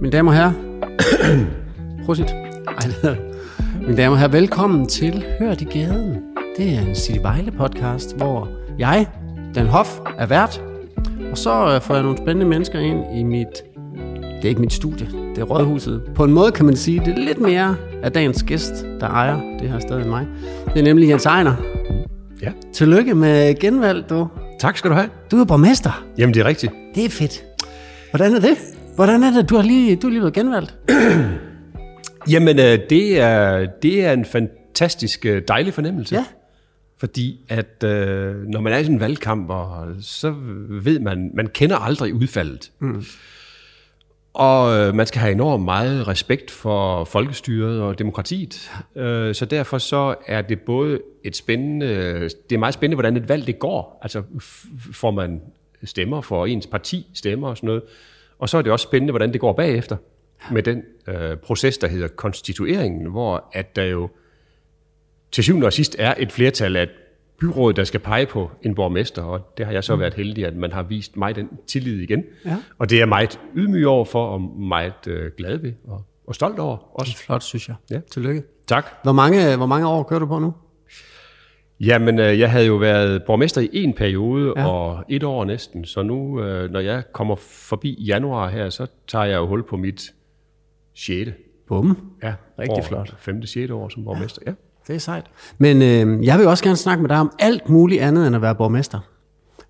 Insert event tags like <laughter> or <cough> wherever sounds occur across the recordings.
Mine damer og herrer, <coughs> prosit. Ej, Mine damer og herrer, velkommen til Hørt i gaden. Det er en City Vejle podcast, hvor jeg, Dan Hoff, er vært. Og så øh, får jeg nogle spændende mennesker ind i mit... Det er ikke mit studie, det er Rådhuset. På en måde kan man sige, det er lidt mere af dagens gæst, der ejer det her sted end mig. Det er nemlig Jens Ejner. Ja. Tillykke med genvalg, du. Tak skal du have. Du er borgmester. Jamen, det er rigtigt. Det er fedt. Hvordan er det? Hvordan er det? Du har lige, du er lige blevet genvalgt. Jamen, øh, det er, det er en fantastisk øh, dejlig fornemmelse. Ja. Fordi at øh, når man er i sådan en valgkamp, og, så ved man, man kender aldrig udfaldet. Mm. Og øh, man skal have enormt meget respekt for folkestyret og demokratiet. Øh, så derfor så er det både et spændende, det er meget spændende, hvordan et valg det går. Altså f- får man stemmer, får ens parti stemmer og sådan noget. Og så er det også spændende, hvordan det går bagefter med den øh, proces, der hedder konstitueringen, hvor at der jo til syvende og sidst er et flertal af et byråd, der skal pege på en borgmester, og det har jeg så været heldig, at man har vist mig den tillid igen. Ja. Og det er jeg meget ydmyg over for, og meget øh, glad ved, og, og stolt over også. Flot, synes jeg. Ja. Tillykke. Tak. Hvor mange, hvor mange år kører du på nu? Jamen, øh, jeg havde jo været borgmester i en periode, ja. og et år næsten, så nu, øh, når jeg kommer forbi januar her, så tager jeg jo hul på mit 6. Bum. Ja, Rigtig år, flot. 5. 6. år som borgmester, ja. Det er sejt. Men øh, jeg vil også gerne snakke med dig om alt muligt andet end at være borgmester.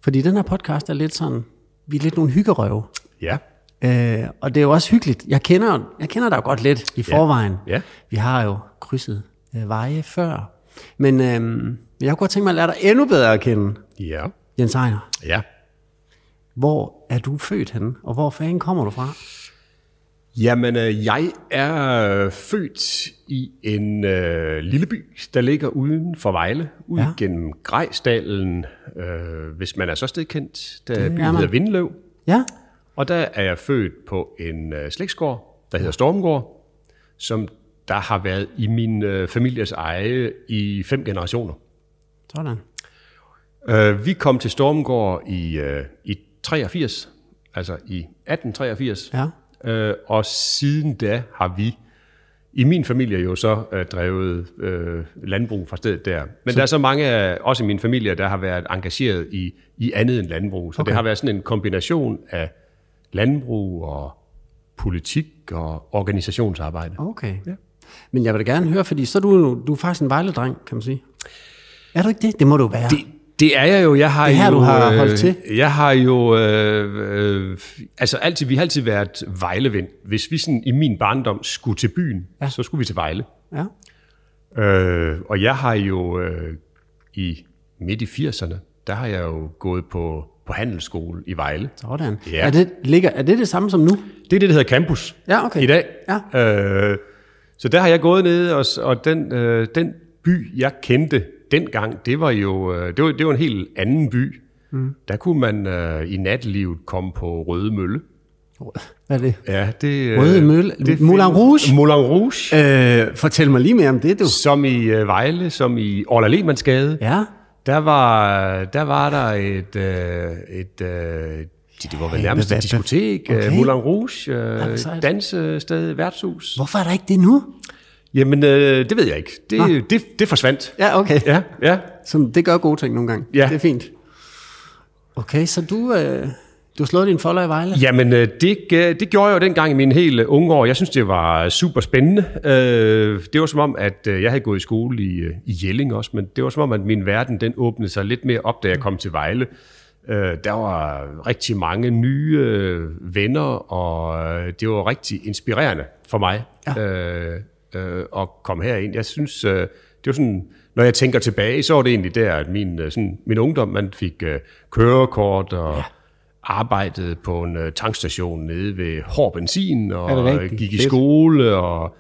Fordi den her podcast er lidt sådan, vi er lidt nogle hyggerøve. Ja. Øh, og det er jo også hyggeligt. Jeg kender, jeg kender dig jo godt lidt i forvejen. Ja. Vi har jo krydset øh, veje før. Men øh, jeg kunne godt tænke mig at lære dig endnu bedre at kende, Ja. Jens Ejner. Ja. Hvor er du født henne, og hvor fanden kommer du fra? Jamen, øh, jeg er øh, født i en øh, lille by, der ligger uden for Vejle, ud ja. gennem Grejsdalen, øh, hvis man er så stedkendt. Der det byen man. hedder Vindløv, Ja, og der er jeg født på en øh, slægtsgård, der hedder Stormgård, som der har været i min øh, families eje i fem generationer. sådan. Øh, vi kom til Stormgård i, øh, i 83, altså i 1883. Ja. Øh, og siden da har vi i min familie jo så øh, drevet øh, landbrug fra stedet der. Men så... der er så mange af også i min familie, der har været engageret i, i andet end landbrug. Så okay. det har været sådan en kombination af landbrug og politik og organisationsarbejde. Okay. Ja. Men jeg vil da gerne høre, fordi så er du, jo- du er faktisk en vejledreng, kan man sige. Er du ikke det? Det må du være. Det, Det er jeg jo. Jeg har Det er her, jo, du har øh, holdt til. Jeg har jo... Øh, øh, altså altid, vi har altid været Vejlevind. Hvis vi sådan i min barndom skulle til byen, ja. så skulle vi til Vejle. ja. Øh, og jeg har jo øh, i midt i 80'erne, der har jeg jo gået på, på handelsskole i Vejle. Sådan. Ja. Er, det, ligger, er det det samme som nu? Det er det, der hedder campus Ja, okay. i dag. Ja. Øh, så der har jeg gået ned, og, s- og den, øh, den by, jeg kendte dengang, det var jo øh, det var, det var en helt anden by. Mm. Der kunne man øh, i natlivet komme på Røde Mølle. Hvad er det? Ja, det, øh, Røde Mølle? Moulin findes- Rouge? Moulin Rouge, Øh, fortæl mig lige mere om det, du. som i øh, Vejle, som i Orla Lehmannsgade. Ja. Der var, der var der et, øh, et øh, det, det var vel nærmest hvad- et hvad- diskotek, okay. okay. Moulin Rouge, hvor øh, sejt. dansested, værtshus. Hvorfor er der ikke det nu? Jamen, øh, det ved jeg ikke. Det, det, det forsvandt. Ja, okay. Ja, ja. Som, det gør gode ting nogle gange. Ja. Det er fint. Okay, så du, øh, du har slået din folder i Vejle? Jamen, øh, det, g- det gjorde jeg jo dengang i mine helt øh, unge år. Jeg synes, det var super spændende. Øh, Det var som om, at øh, jeg havde gået i skole i, øh, i Jelling også, men det var som om, at min verden den åbnede sig lidt mere op, da jeg kom til Vejle. Øh, Der var rigtig mange nye øh, venner, og øh, det var rigtig inspirerende for mig ja. øh, øh, at komme herind. Jeg synes, øh, det var sådan, når jeg tænker tilbage, så var det egentlig der, at min, øh, sådan, min ungdom, man fik øh, kørekort og... Ja arbejdede på en øh, tankstation nede ved hård benzin, Er det og øh, rigtigt? gik i Fedt. skole, og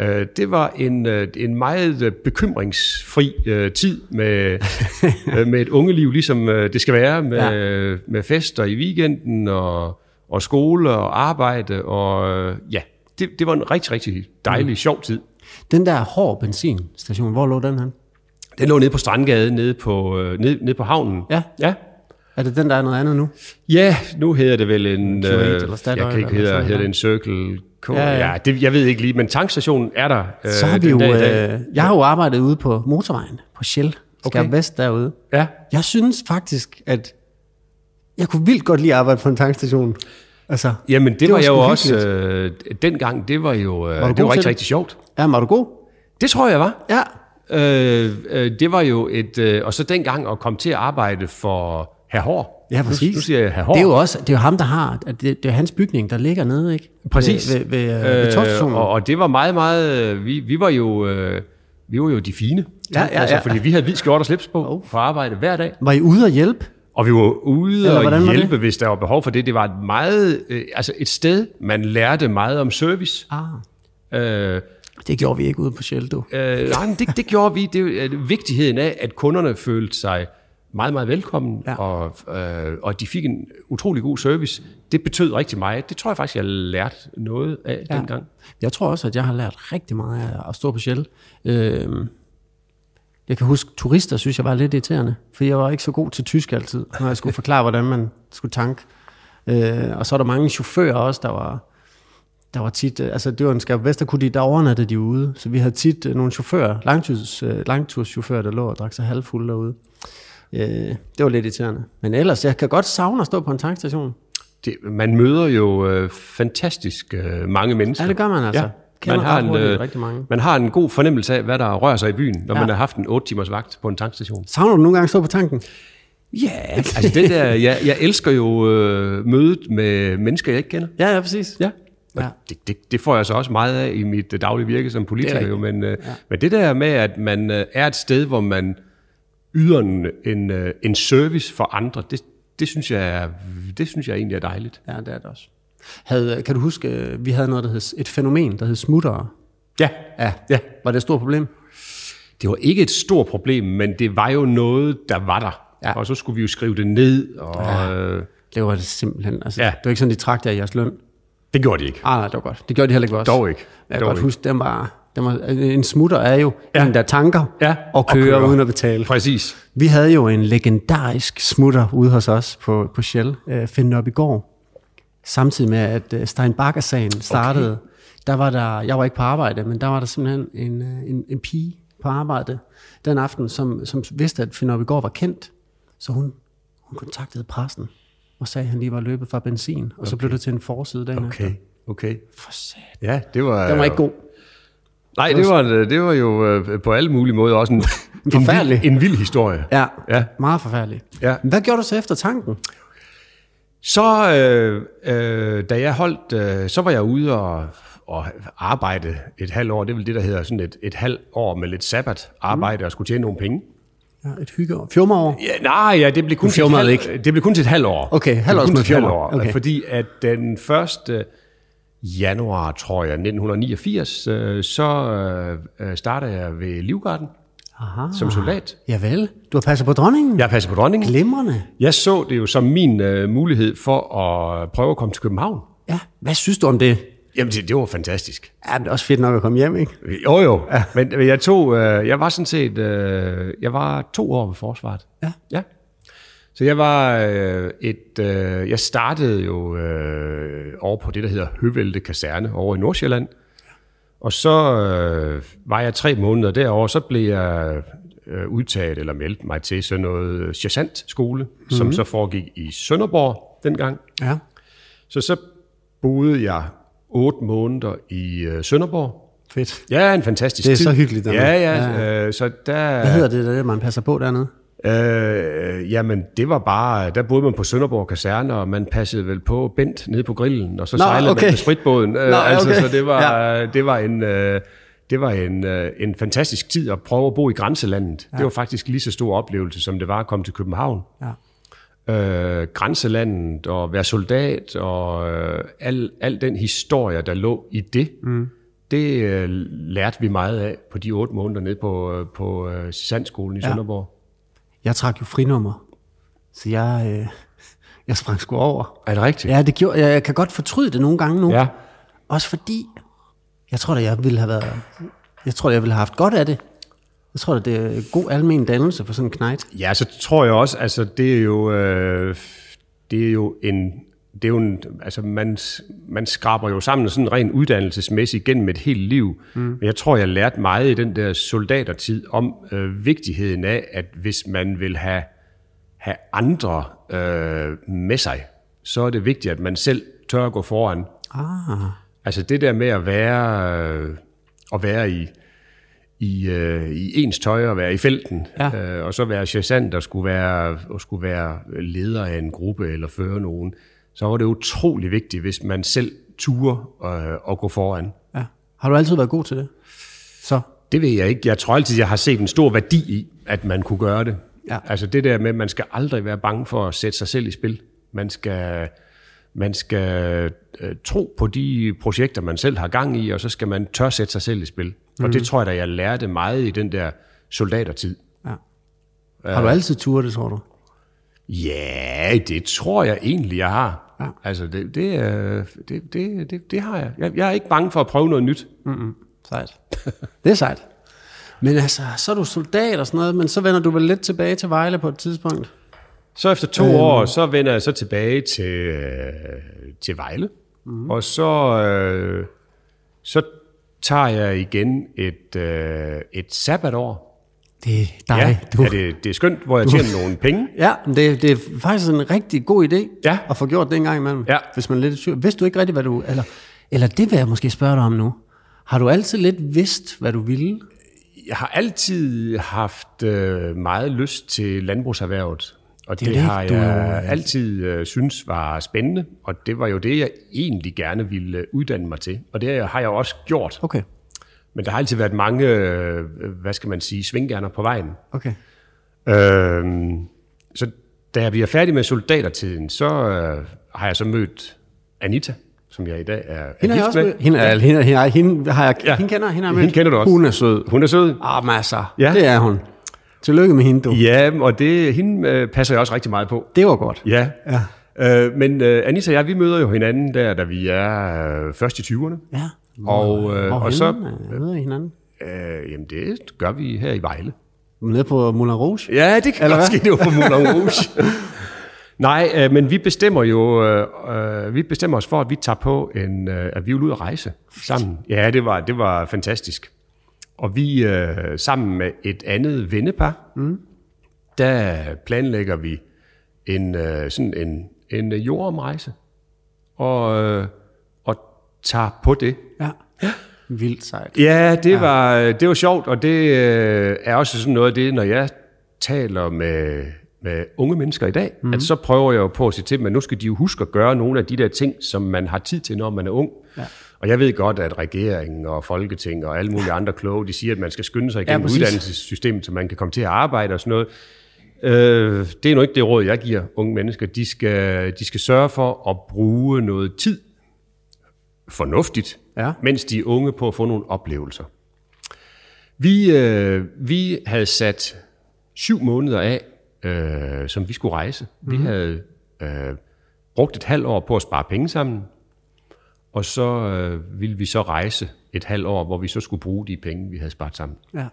øh, det var en, øh, en meget øh, bekymringsfri øh, tid <laughs> med, øh, med et ungeliv, ligesom øh, det skal være, med, Ja. ja. med fester i weekenden, og, og skole, og arbejde, og øh, ja, det, det var en rigtig, rigtig dejlig, mm. sjov tid. Den der hård benzinstation, hvor lå den hen? Den lå nede på Strandgade, nede på, øh, nede, nede på havnen. Ja. ja. Er det den, der er noget andet nu? Ja, nu hedder det vel en... Q8 øh, eller Statoil jeg kan ikke eller hedder, sådan hedder det noget. en Circle K. Ja, Ja, ja. ja. ja det, jeg ved ikke lige, men tankstationen er der. Øh, Så har vi den jo... dag i dag. Øh, jeg har jo arbejdet ude på motorvejen på Shell. Skærm Okay. Vest derude. Ja. Jeg synes faktisk, at jeg kunne vildt godt lide at arbejde på en tankstation. Altså, Jamen, det, det var, var jeg jo sgu også... Øh, dengang, det var jo øh, Var du det god var til rigtig, det? rigtig sjovt. ja, var du god? Det tror jeg var. Ja. Øh, øh, det var jo et... Øh, og så dengang at komme til at arbejde for Herr Hår. Ja, præcis. Nu, nu siger jeg Herr Hår. Det er jo også, det er jo ham, der har, at det, det er hans bygning, der ligger nede, ikke? Præcis. Ved, ved, ved, øh, ved togstationen. og, og det var meget, meget... øh, Vi, vi var jo... Øh, vi var jo de fine. Ja, ja, altså, ja. Fordi vi havde hvid skjort og slips på oh. for arbejde hver dag. Var I ude at hjælpe? Og vi var ude Eller hvordan og var det? hjælpe, hvis der var behov for det. Det var et meget, øh, altså et sted, man lærte meget om service. Ah. Øh, Det gjorde vi ikke ude på Shell, du. øh, nej, men det, det gjorde vi. Det er jo, øh, vigtigheden af, at kunderne følte sig meget, meget velkommen, Ja. ja. og, øh, og de fik en utrolig god service. Det betød rigtig meget. Det tror jeg faktisk, jeg lærte noget af ja. dengang. Jeg tror også, at jeg har lært rigtig meget af at stå på Shell. Øhm, jeg kan huske, turister synes, jeg var lidt irriterende, for jeg var ikke så god til tysk altid, når <laughs> jeg skulle forklare, hvordan man skulle tanke. Øh, og så er der mange chauffører også, der var, der var tit, øh, altså det var en skab vest, der kunne de, der overnattede de ude, så vi havde tit øh, nogle chauffører, langturs, øh, langturschauffører, der lå og drak sig halvfulde derude. Øh, det var lidt irriterende. Men ellers, jeg kan godt savne at stå på en tankstation. Det, man møder jo øh, fantastisk øh, mange mennesker. Ja, det gør man altså. Kender Man har, ret en, hurtigt øh, rigtig mange. man har en god fornemmelse af, hvad der rører sig i byen, når Ja. ja. man har haft en 8 timers vagt på en tankstation. Savner du nogle gange at stå på tanken? Ja, yeah. altså det der, jeg, jeg elsker jo øh, mødet med mennesker, jeg ikke kender. Ja, ja, præcis. Ja. Og Ja. Det, det, det får jeg så også meget af i mit øh, daglige virke som Det er politiker, rigtigt. jo, men, øh, ja. men det der med, at man øh, er et sted, hvor man yder en, en, øh, en service for andre, det, det, synes jeg, er- det synes jeg egentlig er dejligt. Ja, det er det også. Havde, kan du huske, øh, vi havde noget, der hed, et fænomen, der hed smuttere? Ja, ja. Var det et stort problem? Det var ikke et stort problem, men det var jo noget, der var der. Ja. Ja. Og så skulle vi jo skrive det ned, og ja. øh, Det var det simpelthen. Altså, Ja. Det var ikke sådan, de trak jer i jeres løn. det gjorde de ikke. Ah, nej, det var godt. Det gjorde de heller ikke også. Dog ikke. Jeg kan Dog godt ikke. huske, den var, den var, en smutter er jo ja. en, der tanker Ja, og, og kører kører. uden at betale. Præcis. Vi havde jo en legendarisk smutter ude hos os på, på Shell, øh, finden op i går. Samtidig med, at øh, Steinbacher-sagen startede, okay. der var der, jeg var ikke på arbejde, men der var der simpelthen en, øh, en, en pige på arbejde den aften, som, som vidste, at Finn op i går var kendt. Så hun, hun kontaktede pressen og sagde, at han lige var løbet fra benzin, og så blev det til en forside dagen efter. okay. For sat. Ja, det var... Den var ikke god. Nej, det var, det var jo øh, på alle mulige måder <laughs> også en, en, Forfærdelig. vild, en vild historie. Ja, Ja. meget forfærdelig. Ja. Hvad gjorde du så efter tanken? Så øh, øh, da jeg holdt, øh, så var jeg ude og, og arbejde et halvt år. Det er vel det, der hedder sådan et, et halvt år med lidt sabbat arbejde og skulle tjene nogle penge. Ja, et hyggeår. Fjummerår? Ja, nej, ja, det blev kun, til et, fjumrede halv, det blev kun til et halvt år. Okay, Det blev halvårs kun med til et halvt fjummer. år. Okay. Fordi at den 1. januar, tror jeg, 1989, øh, så øh, øh, starter jeg ved Livgarden Aha. som soldat. Javel, du har passet på dronningen? Jeg passer på dronningen. Glimrende. Jeg så det jo som min øh, mulighed for at prøve at komme til København. Ja, hvad synes du om det? Jamen, det, det var fantastisk. Ja, det er også fedt nok at komme hjem, ikke? Jo, jo. Ja. Men men jeg tog, øh, jeg var sådan set, øh, jeg var to år ved forsvaret. Ja. ja. Så jeg var øh, et, øh, jeg startede jo øh, over på det, der hedder Høvelte Kaserne over i Nordsjælland. Og så øh, var jeg tre måneder derovre, så blev jeg øh, udtaget eller meldt mig til sådan noget sergeantskole, mm-hmm. som så foregik i Sønderborg dengang. Ja. Så så boede jeg otte måneder i øh, Sønderborg. Fedt. Ja, en fantastisk Det er tid. så hyggeligt Ja, dernede. ja. ja. Øh, så Hvad der... hedder det, der man passer på dernede? Øh, jamen, det var bare... Der boede man på Sønderborg Kaserne, og man passede vel på Bent nede på grillen, og så Nå, Nå, sejlede okay. man med spritbåden. Øh, Nå, altså, okay. så det var, ja. det var en... Øh, det var en, øh, en fantastisk tid at prøve at bo i grænselandet. Ja. Det var faktisk lige så stor oplevelse, som det var at komme til København. Ja. øh, grænselandet og være soldat og øh, al, al den historie, der lå i det, mm. det øh, lærte vi meget af på de otte måneder nede på, øh, på øh, Sandskolen i ja. Sønderborg. Jeg trak jo frinummer, så jeg, øh, <laughs> jeg sprang sgu over. Er det rigtigt? Ja, det gjorde, jeg, jeg kan godt fortryde det nogle gange nu. ja. Også fordi, jeg tror da, jeg ville have været... Jeg tror, da, jeg ville have haft godt af det. Jeg tror, det er god almen dannelse for sådan en knægt. Ja, så tror jeg også, altså det er jo, øh, det er jo en, det er jo en, altså man, man skraber jo sammen sådan rent uddannelsesmæssigt gennem et helt liv. Mm. Men jeg tror, jeg lærte meget i den der soldatertid om øh, vigtigheden af, at hvis man vil have, have andre øh, med sig, så er det vigtigt, at man selv tør at gå foran. Ah, Altså det der med at være, øh, at være i, i, øh, i ens tøj og være i felten, Ja. øh, og så være chassant og skulle være, og skulle være leder af en gruppe eller føre nogen, så var det utrolig vigtigt, hvis man selv turde øh, at gå foran. ja. Har du altid været god til det? Så? Det ved jeg ikke. Jeg tror altid, jeg har set en stor værdi i, at man kunne gøre det. Ja. Altså det der med, at man skal aldrig være bange for at sætte sig selv i spil. Man skal, man skal øh, tro på de projekter, man selv har gang i, og så skal man tør sætte sig selv i spil. Mm. Og det tror jeg da, jeg lærte meget i den der soldatertid. Ja. Har du altid turet det, tror du? Ja, det tror jeg egentlig, jeg har. Ja. Altså det, det, øh, det, det, det, det har jeg. jeg. Jeg er ikke bange for at prøve noget nyt. Sejt. <laughs> Det er sejt. Men altså, så er du soldat og sådan noget, men så vender du vel lidt tilbage til Vejle på et tidspunkt. Så efter to øhm. år, så vender jeg så tilbage til, øh, til Vejle. Mhm. Mm. Og så, øh, så tager jeg igen et, øh, et sabbatår. Det er dig, ja, ja det, det er skønt, hvor jeg tjener nogle penge. Ja, men det, det er faktisk en rigtig god idé Ja. at få gjort det en gang imellem, Ja. hvis man er lidt i tvivl. Vidste du ikke rigtigt, hvad du... Eller, eller det vil jeg måske spørge dig om nu. Har du altid lidt vidst, hvad du ville? Jeg har altid haft øh, meget lyst til landbrugserhvervet. Og det, er det det, har du- jeg altid øh, synes var spændende. Og det var jo det, jeg egentlig gerne ville øh, uddanne mig til. Og det har jeg også gjort. Okay, Men der har altid været mange, øh, hvad skal man sige, svinggerner på vejen. okay. Øhm, så da jeg bliver færdig med soldatertiden, så øh, har jeg så mødt Anita, som jeg i dag er, er Hende har jeg gift også med. mødt. Hende, er, hende, hende, hende, har jeg, ja. hende kender, hende har jeg mødt. Hende kender du også. Hun er sød. Hun er sød. Ah, masser. Ja. Det er hun. Tillykke med hende, du. Ja, og det, hende øh, passer jeg også rigtig meget på. Det var godt. Ja. ja. Øh, men øh, Anita og jeg, vi møder jo hinanden der, da vi er øh, først i 20'erne. Ja. Og, øh, Hvor og så, Jeg ved I hinanden. øh, jamen det gør vi her i Vejle. Nede på Moulin Rouge. Ja, det Eller kan Eller hvad? godt ske, det var på <laughs> Moulin Rouge. Nej, øh, men vi bestemmer jo, øh, øh, vi bestemmer os for, at vi tager på en, øh, at vi vil ud at rejse sammen. Ja, det var, det var fantastisk. Og vi øh, sammen med et andet vennepar, mm. der planlægger vi en, øh, sådan en, en øh, jordomrejse. Og, øh, og tager på det. Ja. Vildt sejt. Ja, det, ja. Var, det var sjovt, og det øh, er også sådan noget af det, når jeg taler med, med unge mennesker i dag, mm. at så prøver jeg jo på at sige til dem, at nu skal de jo huske at gøre nogle af de der ting, som man har tid til, når man er ung. Ja. Og jeg ved godt, at regeringen og Folketing og alle mulige andre kloge, de siger, at man skal skynde sig igennem ja, præcis. uddannelsessystemet, så man kan komme til at arbejde og sådan noget. Øh, det er nu ikke det råd, jeg giver unge mennesker. De skal, de skal sørge for at bruge noget tid fornuftigt, Ja. mens de er unge på at få nogle oplevelser. Vi, øh, vi havde sat syv måneder af, øh, som vi skulle rejse. Mm-hmm. Vi havde øh, brugt et halvt år på at spare penge sammen, og så øh, ville vi så rejse et halvt år, hvor vi så skulle bruge de penge, vi havde sparet sammen. Ja.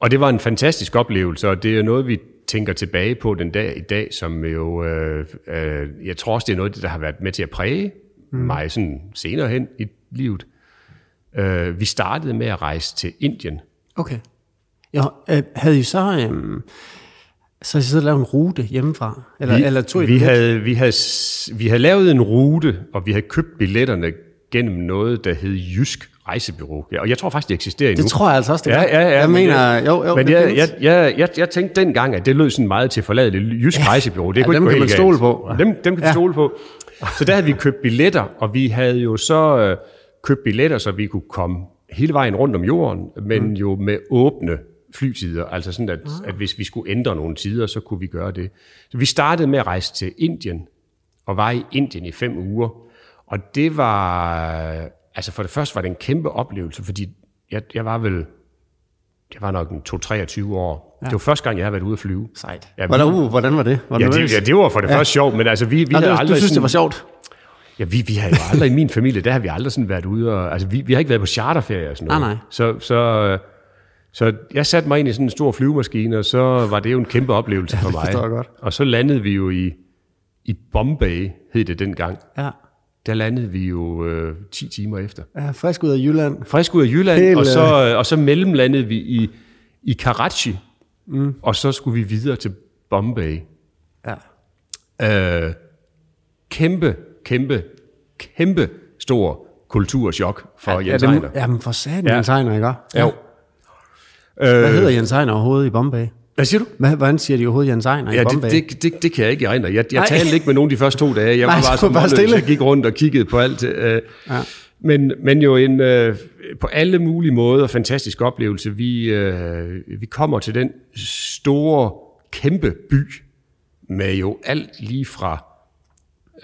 Og det var en fantastisk oplevelse, og det er noget, vi tænker tilbage på den dag i dag, som jo, øh, øh, jeg tror også, det er noget, af det, der har været med til at præge mm. mig sådan senere hen i livet. Øh, vi startede med at rejse til Indien. Okay. Jo, øh, havde I så... Øh, så I siddet og lavet en rute hjemmefra? Eller, eller tog I vi, den lidt? havde, vi, havde, s- vi havde lavet en rute, og vi havde købt billetterne gennem noget, der hed Jysk Rejsebyrå. Ja, og jeg tror faktisk, det eksisterer endnu. Det tror jeg altså også, det Ja, gør. ja, ja. Jeg men mener, jeg- jo, jo, Men det jeg, jeg, findes. jeg, jeg, jeg tænkte dengang, at det lød sådan meget til forladeligt jysk ja. rejsebyrå. Det Ja, kunne dem ikke gå kan man helt stole galt. på. Dem, dem kan vi stole på. Så der havde vi købt billetter, og vi havde jo så øh, købt billetter, så vi kunne komme hele vejen rundt om jorden, men mm. jo med åbne flytider. Altså sådan, at, Ah. at hvis vi skulle ændre nogle tider, så kunne vi gøre det. Så vi startede med at rejse til Indien, og var i Indien i fem uger. Og det var... Altså for det første var det en kæmpe oplevelse, fordi jeg, jeg var vel jeg var nok en 2-23 år. Ja. Det var første gang, jeg havde været ude at flyve. Sejt. Ja, vi- Hvordan, uh, hvordan var det? Var Ja, nervøs? det, ja, det var for det ja. første sjovt, men altså, vi, vi Nå, havde det, var- aldrig du synes, sådan, det var sjovt? Ja, vi, vi havde jo aldrig i min familie, der har vi aldrig sådan været ude og... Altså, vi, vi har ikke været på charterferie og sådan noget. Nej, nej. Så, så, Så jeg satte mig ind i sådan en stor flyvemaskine, og så var det jo en kæmpe oplevelse for det mig. forstår jeg godt. Og så landede vi jo i, i Bombay, hed det dengang. Ja. Der landede vi jo øh, 10 timer efter. ja, frisk ud af Jylland. Frisk ud af Jylland, Helt, og, så, øh, og så mellemlandede vi i, i Karachi, mm. og så skulle vi videre til Bombay. Ja. Øh, kæmpe, kæmpe, kæmpe stor kulturschok for ja, Jens ja, Ejner. det, jamen for satan, ja. Ja. Jens Ejner, ikke? også? Jo. Hvad Øh, hedder Jens Ejner overhovedet i Bombay? hvad siger du? Hvad, hvordan siger de overhovedet Jens Ejner Ja, i Bombay? det, det, det, det kan jeg ikke regne. Jeg, jeg Nej. talte ikke med nogen de første to dage. Jeg <laughs> Nej, var du bare var som bare målløs. stille. Jeg gik rundt og kiggede på alt. Øh, ja. men, men jo en øh, på alle mulige måder fantastisk oplevelse. Vi, øh, vi kommer til den store, kæmpe by med jo alt lige fra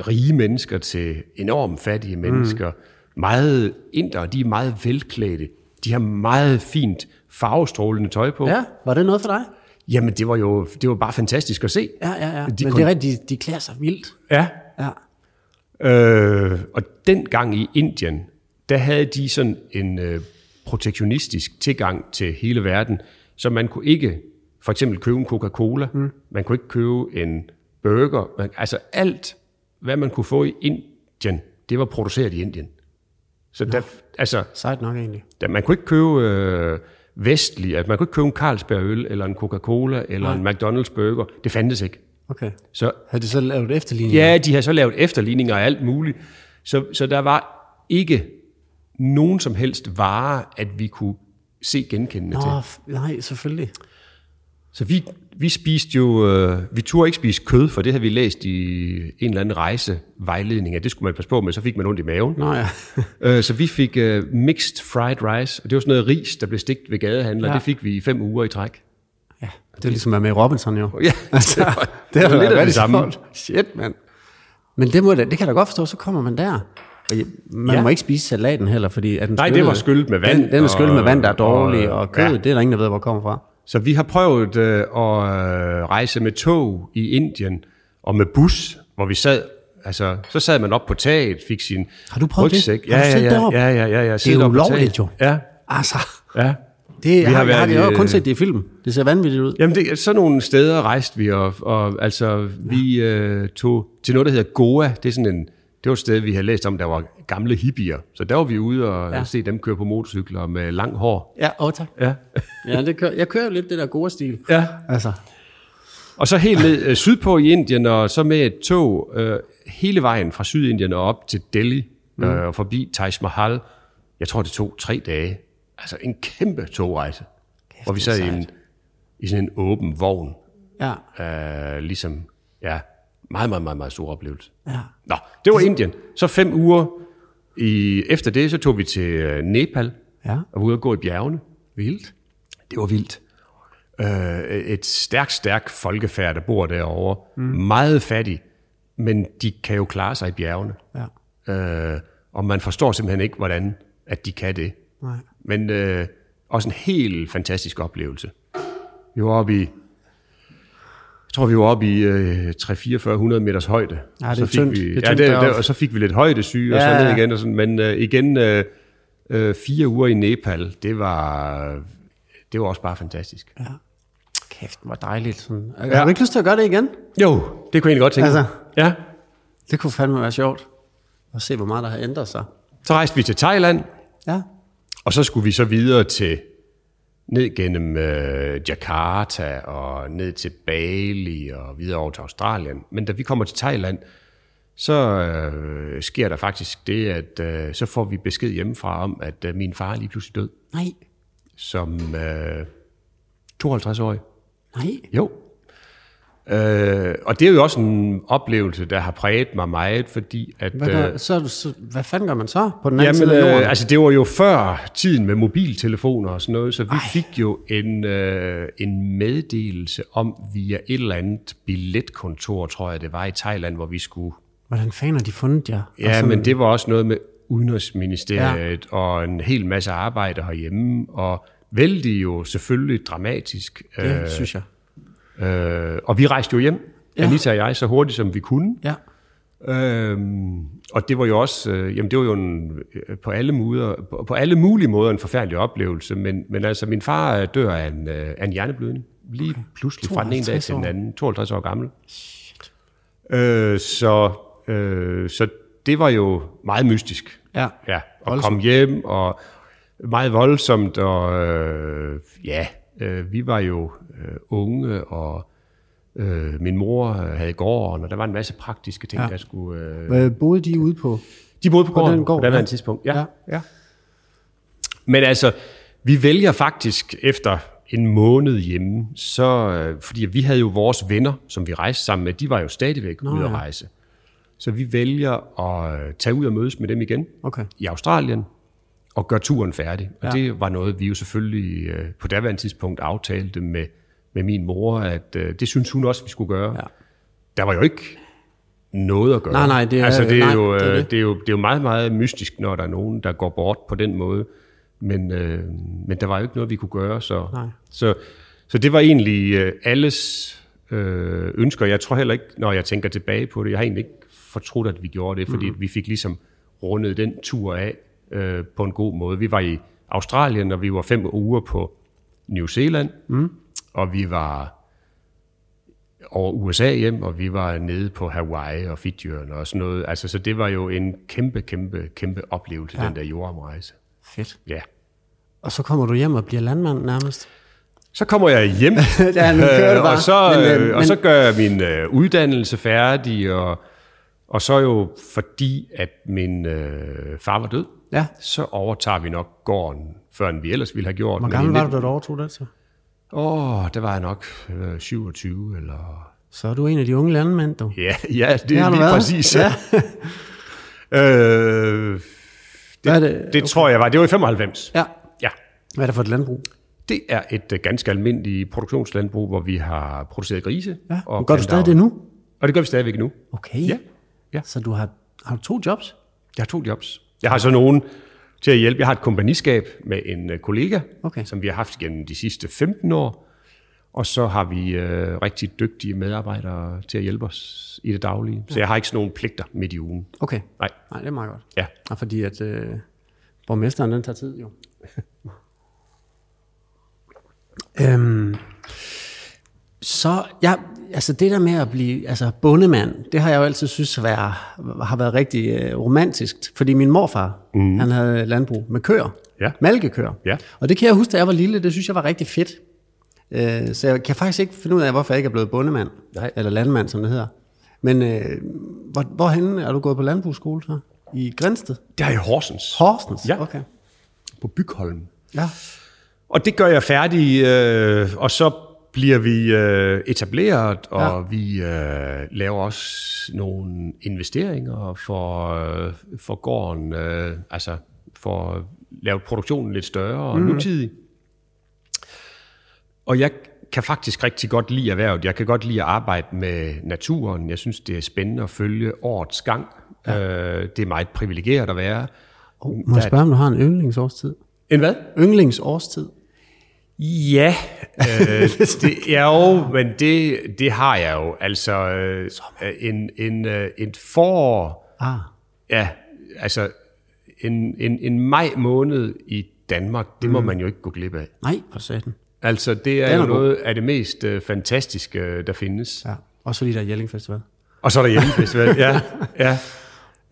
rige mennesker til enormt fattige mennesker. Mm. Meget indere, de er meget velklædte. De har meget fint farvestrålende tøj på. Ja, var det noget for dig? Jamen, det var jo det var bare fantastisk at se. Ja, ja, ja. De Men kun- det er rigtigt, de, de klæder sig vildt. Ja. Ja. Øh, og dengang i Indien, der havde de sådan en øh, protektionistisk tilgang til hele verden, så man kunne ikke for eksempel købe en Coca-Cola, mm. man kunne ikke købe en burger, man, altså alt, hvad man kunne få i Indien, det var produceret i Indien. Så der, altså, Sejt nok egentlig. der, man kunne ikke købe øh, vestlig, at man kunne ikke købe en Carlsberg øl, eller en Coca-Cola, eller en McDonald's burger, det fandtes ikke. Okay. Så Havde de så lavet efterligning? Ja, de har så lavet efterligninger og alt muligt. Så, så der var ikke nogen som helst vare, at vi kunne se genkendende til. Nå, f- nej, selvfølgelig. Så vi, vi spiste jo, øh, vi turde ikke spise kød, for det havde vi læst i en eller anden rejsevejledning, at det skulle man passe på med, så fik man ondt i maven. Nå ja. Øh, så vi fik øh, mixed fried rice, og det var sådan noget ris, der blev stegt ved gadehandler. Ja. Ja. Det fik vi i fem uger i træk. ja. Det er ligesom at være med i Robinson jo. <laughs> Ja, <laughs> Altså, det var- det det er var da lidt af lidt det det samme. samme. Shit, mand. Men det, må, jeg da- det kan jeg da godt forstå, så kommer man der. Og jeg- man ja. Ja. må ikke spise salaten heller, fordi at den Nej, det var skyllet med vand, Den, den er skyllet med og- vand, der er dårlig, og, og- og kød, ja. ja. det er der ingen, der ved, hvor det kommer fra. Så vi har prøvet øh, at øh, rejse med tog i Indien og med bus, hvor vi sad. Altså, så sad man op på taget, fik sin Har du prøvet det? rygsæk. Har du Ja, ja, siddet ja, deroppe? ja, ja, ja, ja. Det er siddet jo op på ulovligt taget. jo. Ja, Altså, ja. det har, har, har jeg har været det, jeg har i, kun øh, set det i film. Det ser vanvittigt ud. Jamen, det, sådan nogle steder rejste vi, og, og altså, vi øh, tog til noget, der hedder Goa. Det er sådan en, det var et sted, vi havde læst om, der var gamle hippier. Så der var vi ude og Ja. ja. se dem køre på motorcykler med lang hår. Ja, åh tak. Ja. Ja, det kører, jeg kører jo lidt det der gode stil. ja. Altså, Og så helt ned øh, sydpå i Indien, og så med et tog øh, hele vejen fra Sydindien og op til Delhi, mm. øh, og forbi Taj Mahal. Jeg tror, det tog tre dage. Altså en kæmpe togrejse. Kæft, hvor vi det er sad i, en, i sådan en åben vogn. ja, Øh, ligesom, ja, meget, meget, meget, meget stor oplevelse. ja. Nå, det var Indien. Så fem uger i, efter det, så tog vi til øh, Nepal Ja. og var ude og gå i bjergene. Vildt. Det var vildt. Øh, et stærkt, stærkt folkefærd, der bor derovre. Mm. Meget fattig, men de kan jo klare sig i bjergene. Ja, Øh, og man forstår simpelthen ikke, hvordan at de kan det. nej. Men øh, også en helt fantastisk oplevelse. Vi var oppe i, jeg tror, vi var oppe i øh, 300-400 meters højde. Ja, det er så fik tyndt. Vi, Det er ja, tyndt det, det, deroppe. og så fik vi lidt højdesyge, ja, og Ja, så ned ja. igen. Og sådan, men øh, igen, øh, øh, fire uger i Nepal, det var, det var også bare fantastisk. Ja. Kæft, hvor dejligt. Sådan. Ja. Har du ikke lyst til at gøre det igen? Jo, det kunne jeg egentlig godt tænke. Altså. Altså. Ja. Det kunne fandme være sjovt. Og se, hvor meget der har ændret sig. Så rejste vi til Thailand, Ja. og så skulle vi så videre til ned gennem øh, Jakarta og ned til Bali og videre over til Australien. Men da vi kommer til Thailand, så øh, sker der faktisk det, at øh, så får vi besked hjemmefra om, at øh, min far er lige pludselig død Nej. som øh, 52-årig. Nej. Jo. Øh, og det er jo også en oplevelse, der har præget mig meget, fordi at... Hvad, gør, øh, så, er du så, hvad fanden gør man så på den anden Jamen, side af jorden? øh, altså det var jo før tiden med mobiltelefoner og sådan noget, så vi Ej. fik jo en, øh, en meddelelse om via et eller andet billetkontor, tror jeg det var i Thailand, hvor vi skulle. Hvordan fanden har de fundet jer? Og Ja, sådan- men det var også noget med Udenrigsministeriet ja. og en hel masse arbejde herhjemme, og vældig jo selvfølgelig dramatisk. Det synes jeg. Øh, og vi rejste jo hjem, Ja. ja. Anita og jeg, så hurtigt som vi kunne. Ja. Øhm, og det var jo også, øh, jamen det var jo en, øh, på, alle måder, på, på alle mulige måder en forfærdelig oplevelse, men, men altså min far øh, dør af en, øh, af en hjerneblødning, lige okay. pludselig fra den ene dag 52 til den år. anden, 52 år gammel. Øh, så, øh, så det var jo meget mystisk. Ja. Ja, og Voldsomt. kom hjem, og meget voldsomt, og øh, ja, øh, vi var jo øh, unge, og øh, min mor øh, havde gården, og der var en masse praktiske ting, ja. der skulle... Øh, Hvad boede de ude på? de boede på gården den på, gård, på det ja. andet tidspunkt. Ja. Ja. Ja. ja. Men altså, vi vælger faktisk efter en måned hjemme, så, øh, fordi vi havde jo vores venner, som vi rejste sammen med, de var jo stadigvæk Nå, ude at ja. rejse. Så vi vælger at øh, tage ud og mødes med dem igen Okay. i Australien og gøre turen færdig. Og ja. det var noget, vi jo selvfølgelig øh, på daværende tidspunkt aftalte med, med min mor, at øh, det synes hun også, vi skulle gøre. Ja. Der var jo ikke noget at gøre. Nej, nej, det er- altså, det er nej, jo, det er øh, det. det er jo det er jo meget, meget mystisk, når der er nogen, der går bort på den måde. Men, øh, men der var jo ikke noget, vi kunne gøre, så, Nej. så, så det var egentlig øh, alles øh, ønsker. Jeg tror heller ikke, når jeg tænker tilbage på det, jeg har egentlig ikke fortrudt, at vi gjorde det, fordi mm. vi fik ligesom rundet den tur af øh, på en god måde. Vi var i Australien, og vi var fem uger på New Zealand, mm. og vi var over USA hjem, og vi var nede på Hawaii og Fidjøerne og sådan noget. Altså, så det var jo en kæmpe, kæmpe, kæmpe oplevelse, ja. den der jordomrejse. Fedt. Ja. Og så kommer du hjem og bliver landmand nærmest. Så kommer jeg <laughs> hjem, Ja, nu kører det øh, bare. og, så, Men, øh, øh, og men- så gør jeg min øh, uddannelse færdig, og, og så jo fordi, at min øh, far var død, Ja. så overtager vi nok gården, før end vi ellers ville have gjort. Hvor gammel var du, da du overtog det så? Åh, der var jeg nok øh, 27 eller Så er du en af de unge landmænd, du. Ja, ja det har er du lige været. præcis. Ja. <laughs> øh, Hvad er det, det? det, det tror jeg var. Det var i 95. Ja. ja. Hvad er det for et landbrug? Det er et øh, ganske almindeligt produktionslandbrug, hvor vi har produceret grise. Ja. Og gør du stadig det planter- nu? Og det gør vi stadigvæk nu. Okay. Ja. Ja. Så du har, har du to jobs? Jeg har to jobs. Jeg har så nogen til at hjælpe. Jeg har et kompagniskab med en øh, kollega, Okay. som vi har haft gennem de sidste 15 år. Og så har vi øh, rigtig dygtige medarbejdere til at hjælpe os i det daglige. Så jeg har ikke sådan nogle pligter midt i ugen. Okay. Nej. Nej, det er meget godt. Ja. Og fordi at øh, borgmesteren, den tager tid jo. <laughs> øhm, så, ja, altså det der med at blive altså bondemand, det har jeg jo altid synes være, har været rigtig øh, romantisk. Fordi min morfar, mm. han havde landbrug med køer. Ja. Malkekøer. Ja. Og det kan jeg huske, da jeg var lille, det synes jeg var rigtig fedt. Øh, så jeg kan faktisk ikke finde ud af, hvorfor jeg ikke er blevet bondemand. Nej. Eller landmand, som det hedder. Men øh, hvor, hvorhen er du gået på landbrugsskole så? I Grænsted? Det er i Horsens. Horsens? Ja. Okay. på Bygholm. Ja. Og det gør jeg færdig, øh, og så bliver vi øh, etableret, og ja. vi øh, laver også nogle investeringer for, øh, for gården, øh, altså for at lave produktionen lidt større og mm. nutidig. Og jeg kan faktisk rigtig godt lide erhvervet. Jeg kan godt lide at arbejde med naturen. Jeg synes, det er spændende at følge årets gang. Ja. Øh, det er meget privilegeret at være. Oh, må jeg spørge, om du har en yndlingsårstid? En hvad? Yndlingsårstid? Ja, øh, <laughs> det er jo, men det, det har jeg jo. Altså, øh, en, en, øh, et forår, Ah, ja, altså en, en, en maj måned i Danmark, det mm. må man jo ikke gå glip af. nej, for satan. Altså, det er, Den er jo god. noget af det mest øh, fantastiske, øh, der findes. Ja. Og så lige der Jelling Festival. Og så er der hjemmefestival, ja. ja.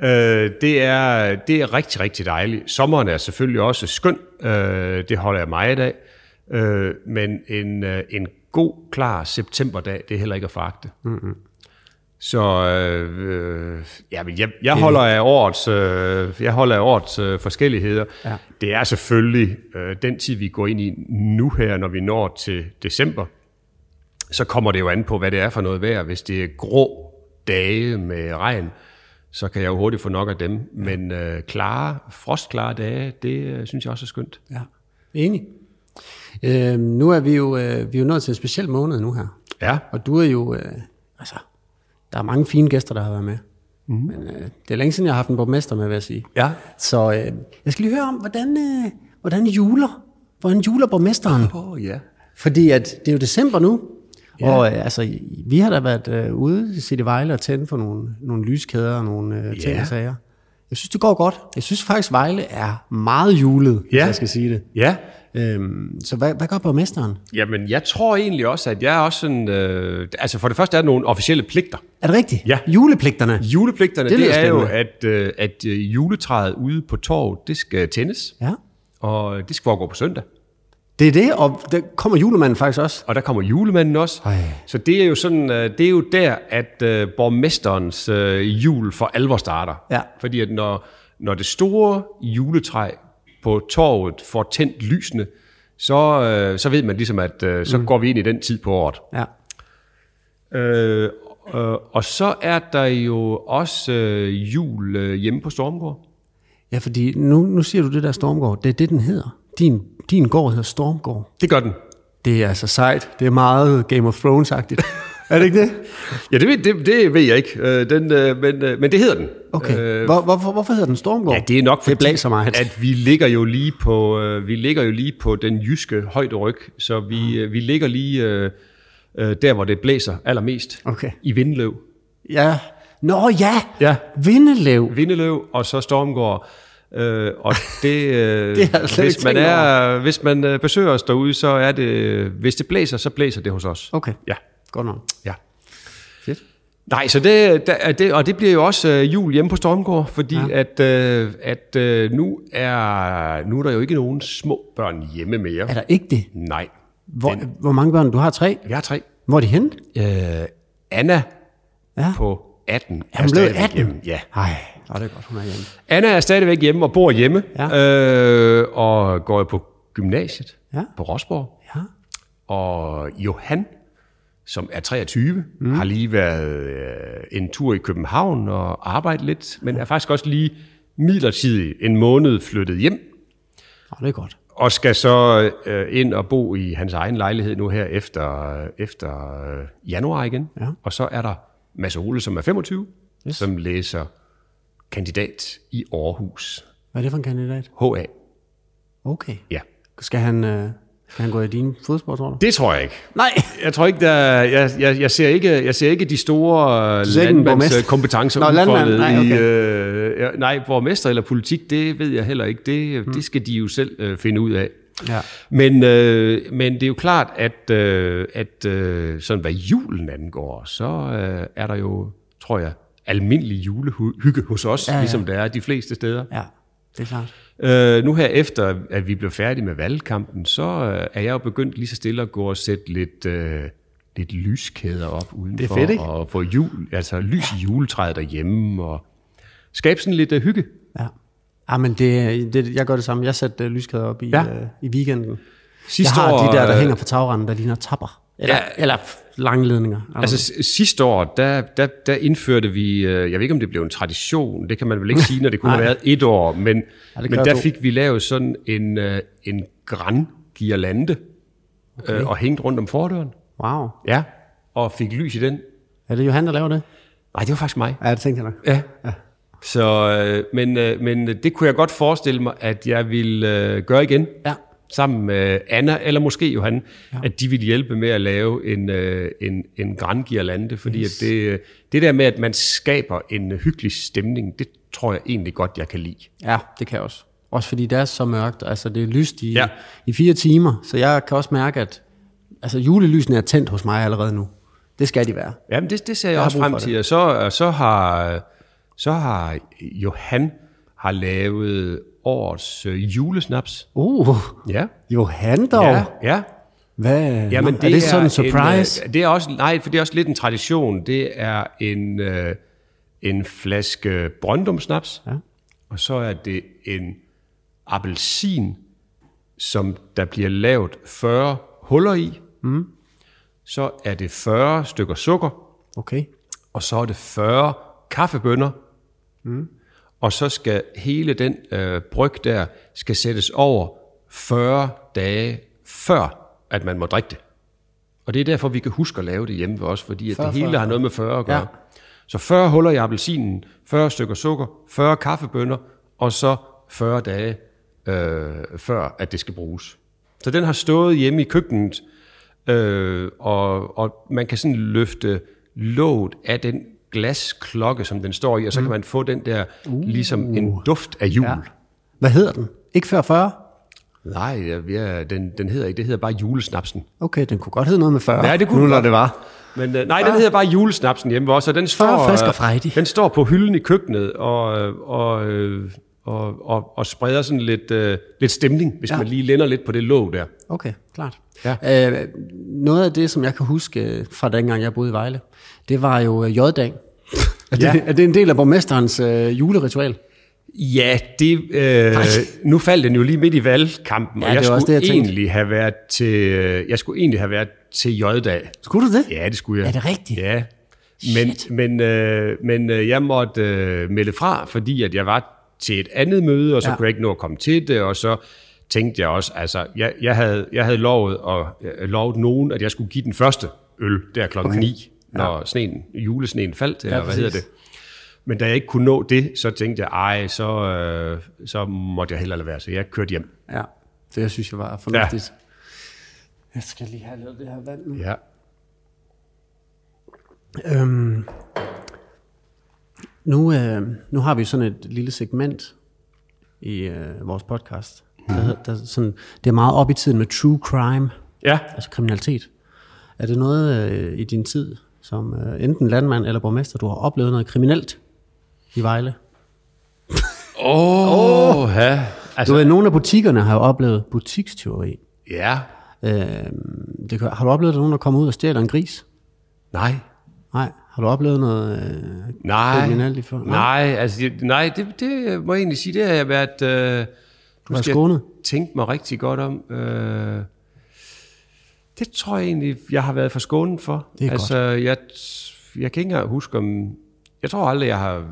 Øh, det, er, det er rigtig, rigtig dejligt. Sommeren er selvfølgelig også skøn. Øh, det holder jeg meget af. Øh, men en, øh, en god, klar septemberdag, det er heller ikke at fragte. Mm-hmm. Så øh, øh, ja, men jeg, jeg holder af årets, øh, jeg holder af årets øh, forskelligheder. Ja. Det er selvfølgelig øh, den tid, vi går ind i nu her, når vi når til december så kommer det jo an på, hvad det er for noget vejr. Hvis det er grå dage med regn, så kan jeg jo hurtigt få nok af dem. Men øh, klare, frostklare dage, det øh, synes jeg også er skønt. Ja. Enig. Øhm, nu er vi jo, øh, vi er jo nået til en speciel måned nu her. Ja, Og du er jo, øh, altså, der er mange fine gæster, der har været med. Mm. Men øh, det er længe siden, jeg har haft en borgmester med, vil jeg sige. Mhm. ja. Så øh, jeg skal lige høre om, hvordan, øh, hvordan juler, hvordan juler borgmesteren? Åh, oh, ja. Fordi at det er jo december nu, Ja. Og øh, altså, vi har da været øh, ude i City Vejle og tænde for nogle, nogle lyskæder og nogle øh, ting Ja. og sager. Jeg synes, det går godt. Jeg synes faktisk, Vejle er meget julet, hvis Ja. jeg skal sige det. Ja. Øhm, så hvad, hvad gør borgmesteren? Jamen, jeg tror egentlig også, at jeg er også sådan... Øh, altså, for det første er der nogle officielle pligter. Er det rigtigt? Ja. Julepligterne. Julepligterne, Det det, lyder det er jo, spændende. at, øh, at øh, juletræet ude på torvet, det skal tændes. Ja. Og øh, det skal foregå på søndag. Det er det, og der kommer julemanden faktisk også. Og der kommer julemanden også. Ej. Så det er jo sådan, øh, det er jo der, at øh, borgmesterens øh, jul for alvor starter. Ja. Fordi at når, når det store juletræ på torvet får tændt lysene, så, øh, så ved man ligesom, at øh, så mm. går vi ind i den tid på året. Ja. Øh, øh, og så er der jo også øh, jul øh, hjemme på Stormgård. Ja, fordi nu, nu siger du det der Stormgård. Det er det, den hedder. Din, din gård hedder Stormgård. Det gør den. Det er altså sejt. Det er meget Game of Thrones-agtigt. er det ikke det? Ja, det ved, det, det ved jeg ikke, øh, den, øh, men, øh, men det hedder den. Okay. Hvor, hvorfor, hvorfor hedder den Stormgård? Øh. Ja, det er nok fordi, det blæser meget. at vi ligger jo lige på øh, vi ligger jo lige på den jyske højderyg, så vi øh, vi ligger lige øh, øh, der hvor det blæser allermest. Okay. I Vindeløv. Ja. Nå ja! Ja. Vindelev. Vindeløv og så Stormgård. Øh, <laughs> og det, øh, Det har jeg slet hvis ikke man tænkt er hvis man øh, besøger os derude, så er det hvis det blæser, så blæser det hos os. Okay, Ja. godt nok. Ja. Fedt. Nej, så det, der, er det, og det bliver jo også øh, jul hjemme på Stormgård, fordi ja. at, øh, at øh, nu, er, nu er der jo ikke nogen små børn hjemme mere. Er der ikke det? Nej. Hvor, hvor mange børn? Du har tre. Jeg har tre. Hvor er de henne? Øh, Anna Ja. på 18 er Han blev stadigvæk 18. hjemme. Ja. Ej, nå, det er godt, hun er hjemme. Anna er stadigvæk hjemme og bor hjemme, Ja. øh, og går jo på gymnasiet Ja. på Rosborg. Ja. Og Johan, som er 23, mm. har lige været øh, en tur i København og arbejdet lidt, men er faktisk også lige midlertidigt en måned flyttet hjem Nå, det er godt. og skal så øh, ind og bo i hans egen lejlighed nu her efter, efter øh, januar igen. Ja. Og så er der Mads Ole, som er 25, yes. som læser kandidat i Aarhus. Hvad er det for en kandidat? HA. Okay. Ja. Skal han, øh, skal han gå i dine fodspor, tror du? Det tror jeg ikke. Nej! Jeg tror ikke, der, jeg, jeg, jeg, ser ikke, jeg ser ikke de store øh, ser ikke en borgmester? landmandskompetencer Nå, landmand. udfoldet Nej, okay. i... Øh, ja, nej, borgmester eller politik, det ved jeg heller ikke. Det, mm. det skal de jo selv øh, finde ud af. Hmm. Ja. Men, øh, men det er jo klart, at, øh, at øh, sådan hvad julen angår, så øh, er der jo, tror jeg, almindelig julehygge hos os, ja, ja. ligesom der er de fleste steder. Ja, det er klart. Øh, nu her efter, at vi blev færdige med valgkampen, så øh, er jeg jo begyndt lige så stille at gå og sætte lidt, øh, lidt lyskæder op udenfor. Det er fedt, ikke? Og få jul, altså lys i juletræet derhjemme, og skabe sådan lidt øh, hygge. Ja. Ja, men det, det, jeg gør det samme. Jeg satte uh, lyskæder op i, ja. Ja. uh, i weekenden. Sidste jeg har år, de der, der øh, hænger på tagranden, der ligner tapper. Eller, ja. Ja. eller f- lange ledninger. Altså s- sidste år, der, der, der indførte vi, øh, jeg ved ikke om det blev en tradition, det kan man vel ikke sige, når det kun har været et år, men, ja, det men gør der du. fik vi lavet sådan en, øh, en gran girlande okay. øh, og hængt rundt om fordøren. Wow. Ja. Og fik lys i den. Er det Johan, der laver det? Nej, det var faktisk mig. Ja, det tænkte jeg nok. Ja. ja. Så, øh, men, øh, men det kunne jeg godt forestille mig, at jeg ville øh, gøre igen. Ja. Sammen med Anna, eller måske Johan, ja. at de ville hjælpe med at lave en, øh, en, en grand girlande. Fordi yes. at det, øh, det der med, at man skaber en hyggelig stemning, det tror jeg egentlig godt, jeg kan lide. Ja, det kan jeg også. Også fordi det er så mørkt, altså det er lyst i, ja. Ja. i fire timer, så jeg kan også mærke, at altså, julelysene er tændt hos mig allerede nu. Det skal de være. Jamen, det, det ser jeg, har jeg også brug for frem til. Og så, og så, har, så har Johan har lavet årets øh, julesnaps. Uh, Ja. Johan dog. Ja, Ja. ja. Hvad? Jamen, Nå, det er det sådan en surprise? En, øh, det er også, nej, for det er også lidt en tradition. Det er en, øh, en flaske Brøndumsnaps, ja. og så er det en appelsin, som der bliver lavet 40 huller i. Mm. Så er det 40 stykker sukker, okay. og så er det 40 kaffebønner. Mm. Og så skal hele den øh, bryg der, skal sættes over 40 dage før, at man må drikke det. Og det er derfor, vi kan huske at lave det hjemme ved os, fordi at 40, det hele 40. har noget med 40 at gøre. Ja. Ja. Så 40 huller i appelsinen, 40 stykker sukker, 40 kaffebønner, og så 40 dage øh, før, at det skal bruges. Så den har stået hjemme i køkkenet Øh, og, og man kan sådan løfte låget af den glasklokke, som den står i, og så kan man få den der, ligesom en duft af jul. Ja. Hvad hedder den? Ikke før 40? Nej, ja, vi er, den, den hedder ikke, det hedder bare julesnapsen. Okay, den kunne godt hedde noget med 40. Ja, det kunne nu, den når godt. det var. Men, øh, nej, den hedder bare julesnapsen hjemme også, og den står, frisk og øh, frejdig. den står på hylden i køkkenet og, øh, og, øh, og, og, og spreder sådan lidt, øh, lidt stemning, hvis Ja. ja. man lige lænder lidt på det låg der. Okay, klart. Ja. Øh, noget af det, som jeg kan huske øh, fra dengang, jeg boede i Vejle, det var jo øh, J-dag. Er, det, Ja. er det en del af borgmesterens øh, juleritual? Ja, det, øh, nu faldt den jo lige midt i valgkampen, Ja, og jeg det var skulle, også det, jeg tænkte. egentlig have været til, øh, jeg skulle egentlig have været til J-dag. Skulle du det? Ja, det skulle jeg. Er det rigtigt? Ja. Men, Shit. men, øh, men øh, jeg måtte øh, melde fra, fordi at jeg var til et andet møde, og så Ja. ja. kunne jeg ikke nå at komme til det, og så tænkte jeg også, altså, jeg, jeg, havde, jeg havde lovet, og, øh, lovet nogen, at jeg skulle give den første øl der klokken okay. 9, når ja. sneen, julesneen faldt, eller ja, hvad præcis. hedder det. Men da jeg ikke kunne nå det, så tænkte jeg, ej, så, øh, så måtte jeg hellere lade være, så jeg kørte hjem. Ja, det jeg synes jeg var fornuftigt. Ja. Jeg skal lige have lavet det her vand nu. Ja. Øhm, nu, øh, nu har vi sådan et lille segment i øh, vores podcast. Mhm. Der, hedder- der, sådan, det er meget op i tiden med true crime, ja. altså kriminalitet. Er det noget øh, i din tid, som øh, enten landmand eller borgmester, du har oplevet noget kriminelt i Vejle? Åh, oh, ja. Du Altså, ved, nogle af butikkerne har jo oplevet butikstyveri. ja. Øh, det, kan- har du oplevet, at nogen der kommer ud og stjæler en gris? Nej, Nej. Har du oplevet noget øh, Nej, kriminelt i før? nej, altså, det- nej det, det må jeg egentlig sige, det har jeg været... Øh, nu Været skal jeg skånet? tænke mig rigtig godt om. Øh, det tror jeg egentlig, jeg har været for skånen for. Det er altså, jeg, jeg kan ikke engang huske om... Jeg tror aldrig, jeg har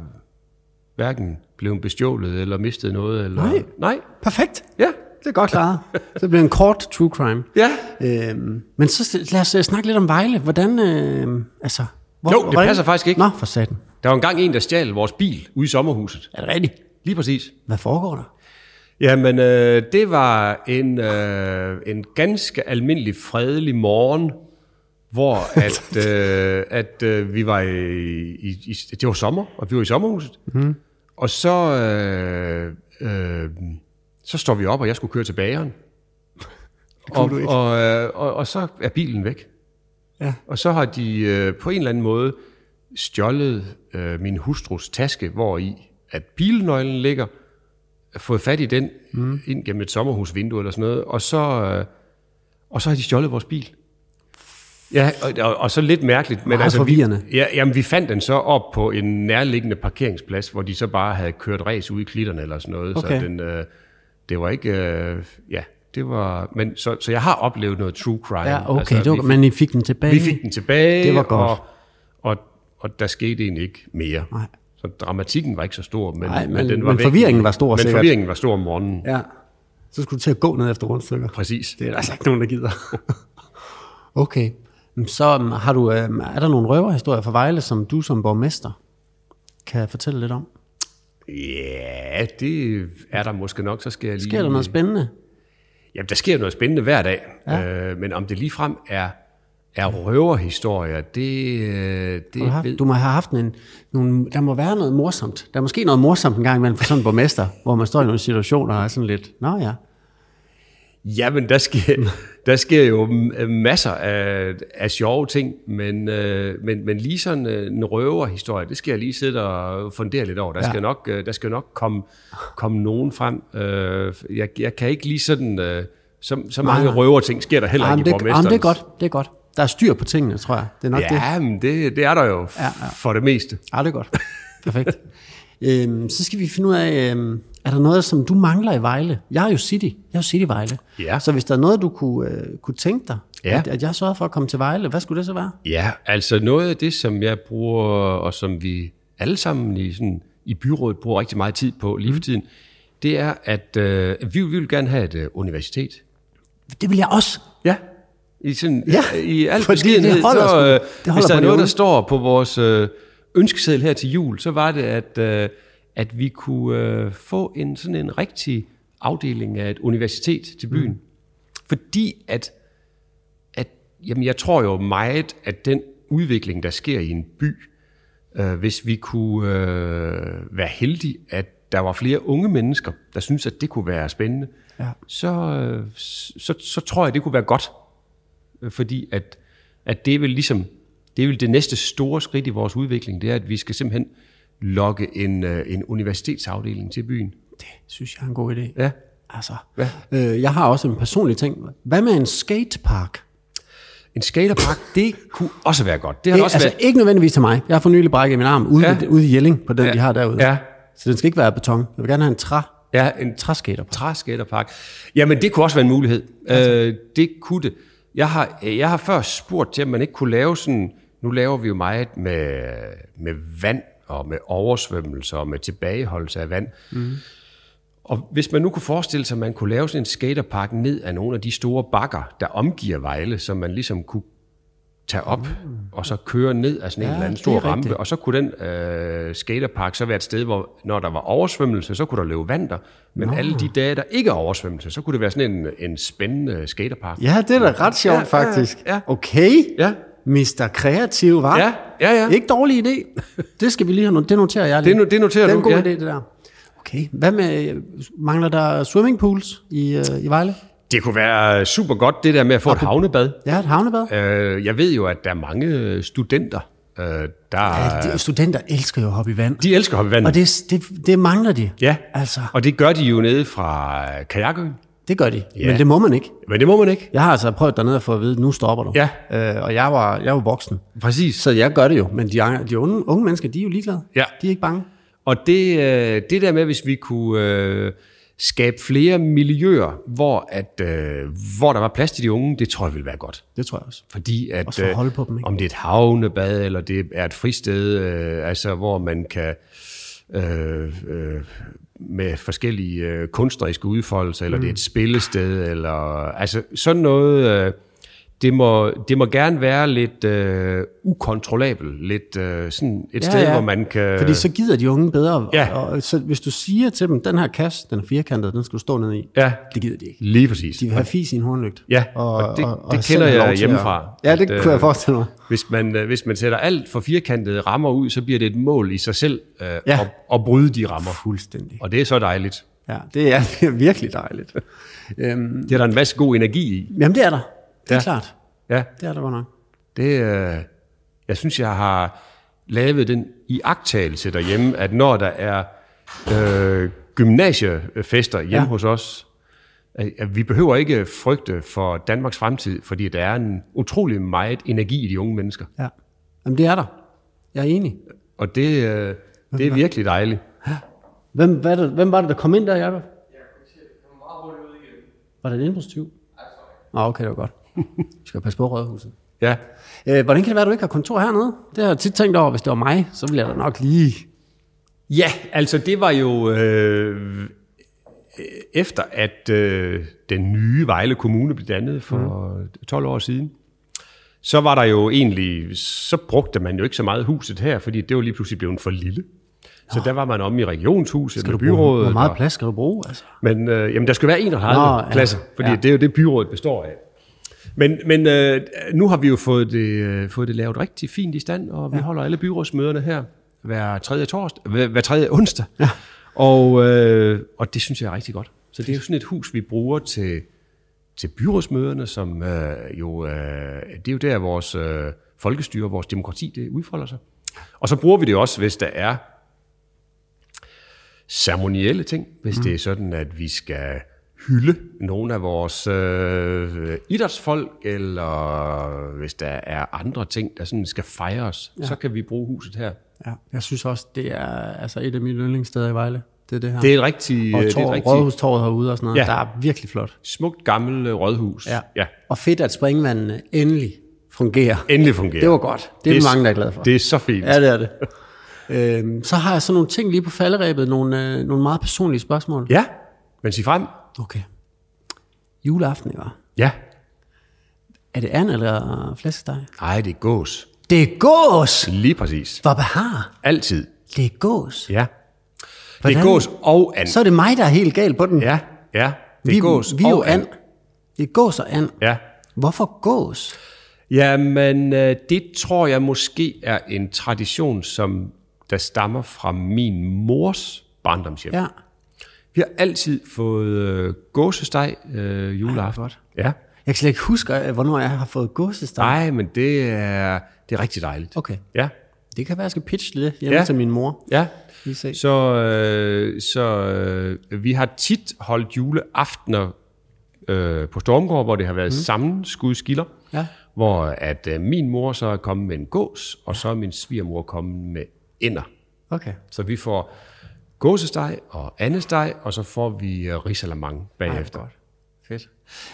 hverken blevet bestjålet eller mistet noget. Eller, Nej. Nej, Perfekt. ja, det er godt. Klaret. <laughs> Så bliver en kort true crime. Ja, Øhm, men så lad os øh, snakke lidt om Vejle. Hvordan, øh, altså... Hvor, Jo, det passer faktisk ikke. Nå, for satan. der var engang en, der stjal vores bil ude i sommerhuset. Er det rigtigt? Lige præcis. Hvad foregår der? Jamen, øh, det var en, øh, en ganske almindelig fredelig morgen, hvor at, øh, at øh, vi var i, i, i, det var sommer, og vi var i sommerhuset. Mm. Og så, øh, øh, så står vi op, og jeg skulle køre til <laughs> bageren. Og, og, øh, og, og så er bilen væk. Ja. Og så har de øh, på en eller anden måde stjålet øh, min hustrus taske, hvor i at bilnøglen ligger, fået fat i den mm. ind gennem et sommerhusvindue eller sådan noget, og så, øh, og så har de stjålet vores bil. Ja, og, og, og så lidt mærkeligt. Men Meget altså, vi, forvirrende. ja, jamen, vi fandt den så op på en nærliggende parkeringsplads, hvor de så bare havde kørt ræs ude i klitterne eller sådan noget. Okay. Så den, øh, det var ikke... Øh, ja, det var... Men, så, så jeg har oplevet noget true crime. Ja, okay. Altså, det vi var, men I fik den tilbage? vi fik den tilbage. Det var godt. Og, og, og der skete egentlig ikke mere. Nej. Så dramatikken var ikke så stor, men, Nej, men- men den var men væk. forvirringen var stor, Men sikkert. forvirringen var stor om morgenen. Ja. Ja. Så skulle du til at gå ned efter rundstykker. Præcis. Det er der altså ikke nogen, der gider. <laughs> okay. Men Så øhm, har du, øh, er der nogle røverhistorier fra Vejle, som du som borgmester kan fortælle lidt om? Ja, det er der måske nok, så skal jeg lige... Sker der noget spændende? Jamen, der sker noget spændende hver dag, ja. øh, men om det ligefrem er, er røverhistorier, det, øh, Du, det har, du må have haft en, nogle, der må være noget morsomt. Der er måske noget morsomt en gang imellem for sådan en borgmester, <laughs> hvor man står i nogle situationer og er sådan lidt, nå ja, Ah, Jamen, der <laughs> sker, der sker jo m- masser af, af sjove ting, men, øh, men, men lige sådan øh, en røverhistorie, det skal jeg lige sidde og fundere lidt over. Der Ja. ja. skal nok, øh, der skal nok komme, komme nogen frem. Øh, Jeg, jeg kan ikke lige sådan... øh, Så, så mange nej. røverting sker der heller Ej, men ikke det, i ej, men borgmesterens. det er godt, det er godt. Der er styr på tingene, tror jeg. Det er nok det. Ja, men det, det er der jo ja, ja. ja. for det meste. Ja, det er <laughs> godt. Perfekt. øhm, så skal vi finde ud af, øhm, er der noget, som du mangler i Vejle? Jeg er jo City. Jeg er jo City Vejle. Ja. Så hvis der er noget, du kunne, øh, kunne tænke dig, Ja. at, at jeg sørger for at komme til Vejle, hvad skulle det så være? Ja, altså noget af det, som jeg bruger, og som vi alle sammen i, sådan, i byrådet bruger rigtig meget tid på lige for tiden, det er, at øh, vi, vi vil gerne have et øh, universitet. Det vil jeg også. Ja. I, sådan, Ja, ja, i al fordi det beskedenhed, holder sgu. så, Det øh, holder hvis der på er de noget, der unge. står på vores øh, ønskeseddel her til jul, så var det, at, øh, at vi kunne øh, få en sådan en rigtig afdeling af et universitet til byen. Mm. Fordi at, at Jamen, jeg tror jo meget, at den udvikling, der sker i en by, øh, hvis vi kunne øh, være heldige, at der var flere unge mennesker, der synes at det kunne være spændende, Ja. så, øh, så, så tror jeg, det kunne være godt. Øh, Fordi at, at det er vel ligesom, det er vel det næste store skridt i vores udvikling, det er, at vi skal simpelthen lokke en, øh, en universitetsafdeling til byen. Det synes jeg er en god idé. Ja. Altså, Ja. øh, jeg har også en personlig ting. Hvad med en skatepark? En skaterpark, det kunne også være godt. Det har Det, det også altså været. ikke nødvendigvis til mig. Jeg har for nylig brækket min arm ude, Ja. ja. ude i Jelling på den, ja. de har derude. Ja. Så den skal ikke være af beton. Jeg vil gerne have en træ, Ja, en træskaterpark. træskaterpark. Jamen, det kunne også være en mulighed. Øh, det kunne det. Jeg har, jeg har før spurgt til, om man ikke kunne lave sådan... Nu laver vi jo meget med, med vand og med oversvømmelser og med tilbageholdelse af vand. Mhm. Mm. Og hvis man nu kunne forestille sig, at man kunne lave sådan en skaterpark ned af nogle af de store bakker, der omgiver Vejle, som man ligesom kunne tage op mm. og så køre ned af sådan en Ja, eller anden det stor er rigtigt. rampe, og så kunne den øh, skaterpark så være et sted, hvor når der var oversvømmelse, så kunne der løbe vand der. Men alle de dage, der ikke er oversvømmelse, så kunne det være sådan en, en spændende skaterpark. Ja, det er da ret sjovt Ja, ja, ja, faktisk. ja. Okay, Ja. Mr. Kreativ, var. Ja, ja, ja. Ikke dårlig <laughs> idé. Det skal vi lige have no- Det noterer jeg lige. Det no- det noterer det er du, en god ja. idé, det der. Okay, hvad med, øh, mangler der swimmingpools i, øh, i Vejle? Det kunne være super godt, det der med at få et havnebad. Ja, et havnebad. Øh, jeg ved jo, at der er mange studenter, øh, der... Ja, de, studenter elsker jo at hoppe i vand. De elsker at hoppe i vandet. Og det, det, det mangler de. Ja, Altså, og det gør de jo nede fra øh, kajakøen. det gør de. Ja. Ja. Men det må man ikke. Men det må man ikke. Jeg har altså prøvet dernede at få at vide, nu stopper du. Ja. Øh, og jeg var, jeg var voksen. Præcis. Så jeg gør det jo. Men de, andre- de unge, unge mennesker, de er jo ligeglade. Ja. De er ikke bange. Og det, øh, det der med, hvis vi kunne øh, skabe flere miljøer, hvor, at, øh, hvor der var plads til de unge, det tror jeg ville være godt. Det tror jeg også. Fordi at, øh, Også for at holde på dem, ikke? om det er et havnebad, eller det er et fristed, øh, altså hvor man kan øh, øh, med forskellige øh, kunstneriske udfoldelser, eller mm. det er et spillested, eller altså sådan noget, øh, det, må, det må gerne være lidt øh, ukontrollabelt, lidt øh, sådan et ja, sted, ja. hvor man kan... Fordi så gider de unge bedre. Øh. Ja. Og så hvis du siger til dem, den her kasse, den er firkantet, den skal du stå ned i. Ja. Det gider de ikke. Lige præcis. De vil have fis i en hornlygt. Ja, og det- det selv kender have lov jeg til at- hjemmefra, Ja, det at, øh, kunne jeg forestille mig. Hvis man, øh, hvis man sætter alt for firkantede rammer ud, så bliver det et mål i sig selv øh, ja. Ja. at, at bryde de rammer. Fuldstændig. Og det er så dejligt. Ja, det er <laughs> virkelig dejligt. øhm, Det er der en masse god energi i. jamen, det er der. Det er Ja. ja. klart. Ja, Det er der godt nok. det, øh, jeg synes, jeg har lavet den iagtagelse derhjemme, at når der er øh, gymnasiefester hjemme ja. Ja. hos os, at at vi behøver ikke frygte for Danmarks fremtid, fordi der er en utrolig meget energi i de unge mennesker. Ja. Jamen, det er der. Jeg er enig. Og det, øh, det er virkelig dejligt. Hvem, hvad det, hvem var det, der kom ind der, Jacob? Var det en indbrudstyv? Nej, ah, okay, det var godt. Vi skal passe på rådhuset. Ja. Øh, hvordan kan det være, at du ikke har kontor hernede? Det har jeg tit tænkt over, hvis det var mig, så ville jeg da nok lige... Ja, altså det var jo øh, efter, at øh, den nye Vejle Kommune blev dannet for mm. 12 år siden. Så var der jo egentlig, så brugte man jo ikke så meget huset her, fordi det var lige pludselig blevet for lille. Så der var man omme i regionshuset eller byrådet. Hvor meget og- plads skal du bruge? Altså? men øh, jamen, der skal være 31 Nå, Nå, ja. pladser, fordi ja. Ja. det er jo det, byrådet består af. Men, men øh, nu har vi jo fået det, øh, fået det lavet rigtig fint i stand, og vi ja. holder alle byrådsmøderne her hver tredje, torsdag, hver, hver tredje onsdag. Ja. Og, øh, og det synes jeg er rigtig godt. Så det er jo sådan et hus, vi bruger til, til byrådsmøderne, som øh, jo, øh, det er jo der, vores øh, folkestyre, vores demokrati, det udfolder sig. Og så bruger vi det også, hvis der er ceremonielle ting, hvis mm. det er sådan, at vi skal hylde nogle af vores øh, idrætsfolk, eller hvis der er andre ting, der sådan skal fejres, ja. så kan vi bruge huset her. Ja, jeg synes også, det er altså, et af mine yndlingssteder i Vejle. Det er det her. Det er et rigtig, og øh, det er tår, et det rigtig Rådhustorvet herude og sådan noget. Ja. Ja. Der er virkelig flot. smukt gammelt øh, rådhus. ja. Og fedt, at springvandene endelig fungerer. Endelig fungerer. Det var godt. Det er Det det, er- mange, der er glade for. Det er så fint. Ja, det er det. <laughs> øhm, så har jeg sådan nogle ting lige på falderæbet, nogle, øh, nogle meget personlige spørgsmål. ja. men sig frem. Okay. Juleaften, ikke? hva'? Ja. Er det and eller flæskesteg? Nej, det er gås. Det er gås! Lige præcis. Hvor behar? Altid. Det er gås. Ja. Det er Hvordan? gås og and. Så er det mig, der er helt gal på den. Ja, ja. Det er vi, gås vi er og jo and. Det er gås og and. Ja. Hvorfor gås? Jamen, øh, det tror jeg måske er en tradition, som der stammer fra min mors barndomshjem. Ja. Vi har altid fået øh, gåsesteg øh, juleaften. godt. Ja. Jeg kan slet ikke huske, øh, hvornår jeg har fået gåsesteg. Nej, men det er, det er rigtig dejligt. Okay. Ja. Det kan være, jeg skal pitche det hjemme ja. Ja. til min mor. Ja. Lige se. Så, øh, så øh, vi har tit holdt juleaftener øh, på Stormgård, hvor det har været mm. sammenskudskilder. Mhm. Ja. Hvor at øh, min mor så er kommet med en gås, og så er min svigermor kommet med ender. Okay. Så vi får gåsesteg og andesteg, og så får vi øh, risalamang bagefter. godt. Fedt.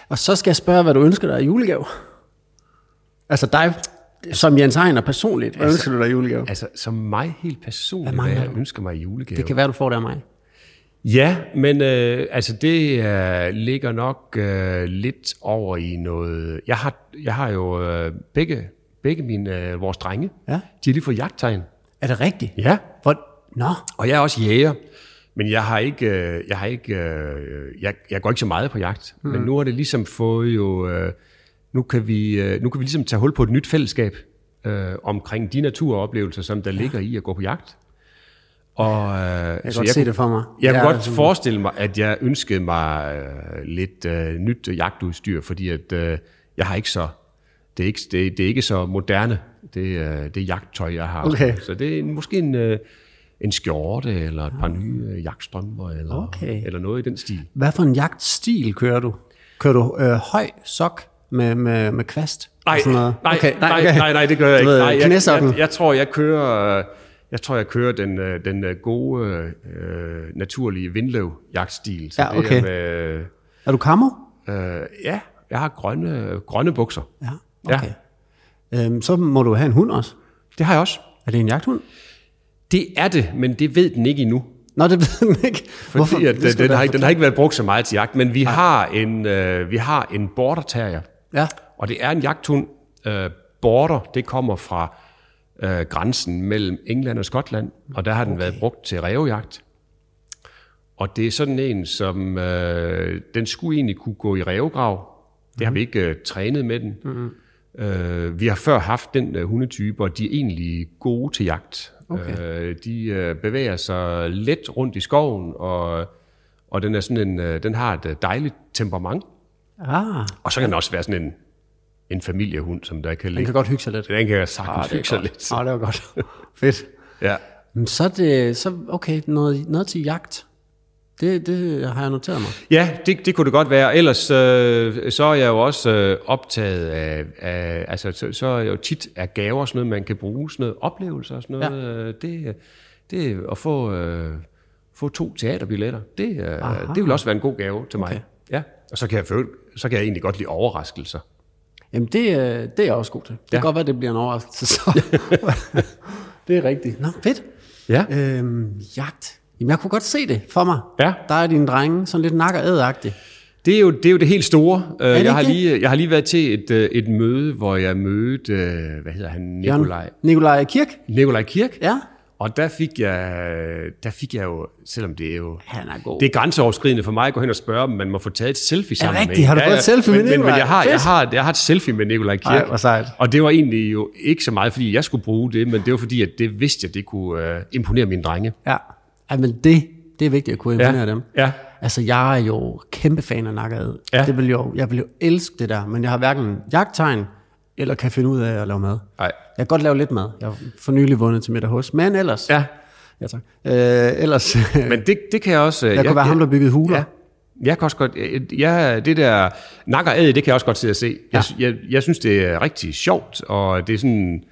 Og så skal jeg spørge, hvad du ønsker dig i julegave. Altså dig, som Jens Ejner personligt. Hvad altså, ønsker du dig i julegave? Altså, som mig helt personligt, Hvad hvad, mangler jeg du? ønsker mig i julegave. Det kan være, du får det af mig. Ja, men øh, altså det øh, ligger nok øh, lidt over i noget... Jeg har, jeg har jo øh, begge, begge mine, øh, vores drenge, Ja. de har lige fået jagttegn. Er det rigtigt? Ja. Hvor... Nå, Og jeg er også jæger, men jeg har ikke, øh, jeg har ikke, øh, jeg, jeg går ikke så meget på jagt. Mm. Men nu har det ligesom fået jo, øh, nu kan vi, øh, nu kan vi ligesom tage hul på et nyt fællesskab øh, omkring de naturoplevelser, som der ja. ligger i at gå på jagt. Og, øh, jeg jeg kan godt Altså, jeg se kunne, det for mig. Jeg kunne Ja, altså. godt forestille mig, at jeg ønskede mig øh, lidt øh, nyt øh, jagtudstyr, fordi at øh, jeg har ikke så det er ikke det, det er ikke så moderne det øh, det jagttøj jeg har. Okay. Så det er en, måske en øh, en skjorte eller et par nye øh, jagtstrømper eller Ah. Okay. eller noget i den stil. Hvad for en jagtstil kører du? Kører du øh, høj sok med, med, med kvast? og Nej, sådan noget? nej, okay, nej, nej, nej, nej, det gør jeg Du ikke. ved, Nej, jeg, knæsokken. jeg, jeg tror, jeg kører, øh, jeg tror, jeg kører den, øh, den øh, gode, øh, naturlige vindløv-jagtstil. Så Ja, Det okay. er med, Er du kammer? Øh, ja, jeg har grønne, grønne bukser. Ja, Ja. okay. Ja. Øhm, så må du have en hund også. Det har jeg også. Er det en jagthund? Det er det, men det ved den ikke endnu. Nå, det ved den ikke. Fordi Fordi at, den, den, har ikke, den har ikke været brugt så meget til jagt, men vi har en, øh, vi har en border terrier, Ja, og det er en jagthund. Øh, border, det kommer fra øh, grænsen mellem England og Skotland, og der har den okay. været brugt til rævejagt. Og det er sådan en, som øh, den skulle egentlig kunne gå i rævegrav. Det mm-hmm. har vi ikke øh, trænet med den. Mm-hmm. Øh, vi har før haft den øh, hundetype, og de er egentlig gode til jagt. Okay. Øh, de øh, bevæger sig let rundt i skoven, og, og den, er sådan en, øh, den har et øh, dejligt temperament. ah, Og så kan den også være sådan en, en familiehund, som der kan den ligge. kan godt hygge sig lidt. Den kan sagtens Ah, hygge sig lidt. Ah, det var godt. <laughs> Fedt. Ja. Men så er det, så, okay, noget, noget til jagt. Det, det har jeg noteret mig. Ja, det, det kunne det godt være. Ellers øh, så er jeg jo også øh, optaget af, af altså så, så er jeg jo tit af gaver og sådan noget, man kan bruge, sådan noget oplevelser og sådan noget. Ja. Det, det at få, øh, få to teaterbilletter, det, øh, det vil også være en god gave til mig. Okay. Ja, og så kan, jeg føle, så kan jeg egentlig godt lide overraskelser. Jamen, det, øh, det er jeg også god til. Det kan Ja. godt være, det bliver en overraskelse. <laughs> Så. det er rigtigt. Nå, fedt. Ja. Øhm, jagt. Jamen, jeg kunne godt se det for mig. Ja. Der er dine drenge, sådan lidt nakker ædagtigt. Det er jo det, er jo det helt store. Øh, det jeg, har ikke det? lige, jeg har lige været til et, øh, et møde, hvor jeg mødte, øh, hvad hedder han, Nikolaj, Nikolaj Kirk. Nikolaj Kirk. Ja. Og der fik, jeg, der fik jeg jo, selvom det er jo... Han er god. Det er grænseoverskridende for mig at gå hen og spørge, om man må få taget et selfie sammen rigtigt? ikke? Har du fået et selfie med men, men, men Nikolaj? jeg har, Fedt. jeg, har, jeg har et selfie med Nikolaj Kirk. Ej, hvor sejt. Og det var egentlig jo ikke så meget, fordi jeg skulle bruge det, men det var fordi, at det vidste jeg, det kunne øh, imponere mine drenge. Ja. ja men det, det er vigtigt at kunne imponere ja. dem. ja. Altså, jeg er jo kæmpe fan af nakkerad. Ja. Det vil jo, jeg vil jo elske det der, men jeg har hverken jagttegn, eller kan finde ud af at lave mad. Ej. Jeg kan godt lave lidt mad. Jeg har for nylig vundet til middag hos, men ellers... ja. ja tak. Øh, ellers... Men, Men det, det kan jeg <laughs> også... jeg kunne være ham, der byggede huler. Ja. Jeg kan også godt, ja, det der nak og æd, det kan jeg også godt sidde og se. Jeg, jeg, jeg synes, det er rigtig sjovt, og det er sådan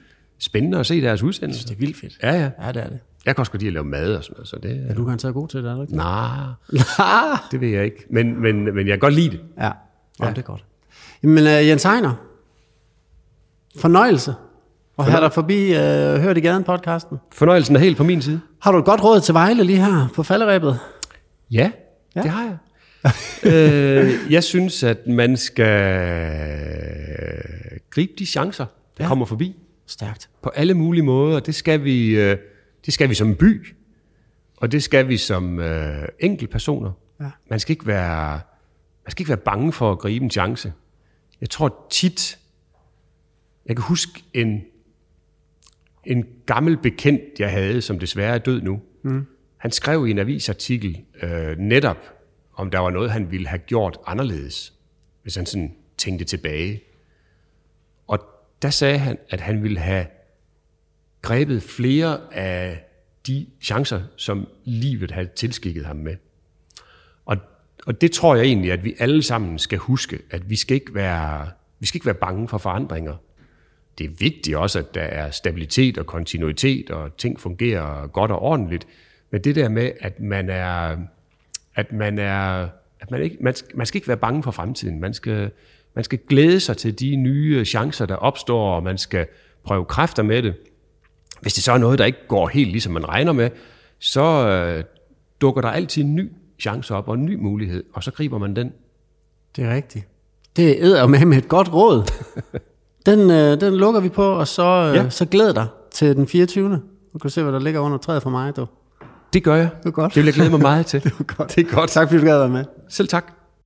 spændende at se deres udsendelser. Det er vildt fedt. Ja, ja. Ja, det er det. Jeg kan også godt lide at lave mad og sådan noget, så det... Du kan tage god til det, er <laughs> du ikke? Nej, det vil jeg ikke. Men, men, men jeg kan godt lide det. ja. ja. det er godt. Jamen, uh, Jens Heiner. Fornøjelse. Og have dig forbi uh, Hørt i gaden podcasten. Fornøjelsen er helt på min side. Har du et godt råd til Vejle lige her på falderæbet? Ja, Ja. ja. det har jeg. øh, jeg synes, at man skal gribe de chancer, der ja. kommer forbi. Stærkt. på alle mulige måder. og Det skal vi, øh, det skal vi som by, og det skal vi som øh, enkeltpersoner. Ja. Man skal ikke være man skal ikke være bange for at gribe en chance. Jeg tror tit Jeg kan huske en, en gammel bekendt, jeg havde, som desværre er død nu. Mm. Han skrev i en avisartikel øh, netop, om der var noget, han ville have gjort anderledes, hvis han sådan tænkte tilbage. Og der sagde han, at han ville have grebet flere af de chancer, som livet havde tilskikket ham med. Og, og det tror jeg egentlig, at vi alle sammen skal huske, at vi skal ikke være, vi skal ikke være bange for forandringer. Det er vigtigt også, at der er stabilitet og kontinuitet, og ting fungerer godt og ordentligt. Men det der med, at man er, at man er, at man ikke, man skal, man skal ikke være bange for fremtiden. Man skal, man skal glæde sig til de nye chancer, der opstår, og man skal prøve kræfter med det. Hvis det så er noget, der ikke går helt ligesom man regner med, så øh, dukker der altid en ny chance op og en ny mulighed, og så griber man den. Det er rigtigt. Det er med med et godt <laughs> råd. Den, øh, den lukker vi på, og så, øh, Ja. ja. så glæd dig til den 24. Du kan se, hvad der ligger under træet for mig, du. Det gør jeg. er godt. <laughs> Det vil jeg glæde mig meget til. Det er godt. Tak fordi du gad være med. Selv tak.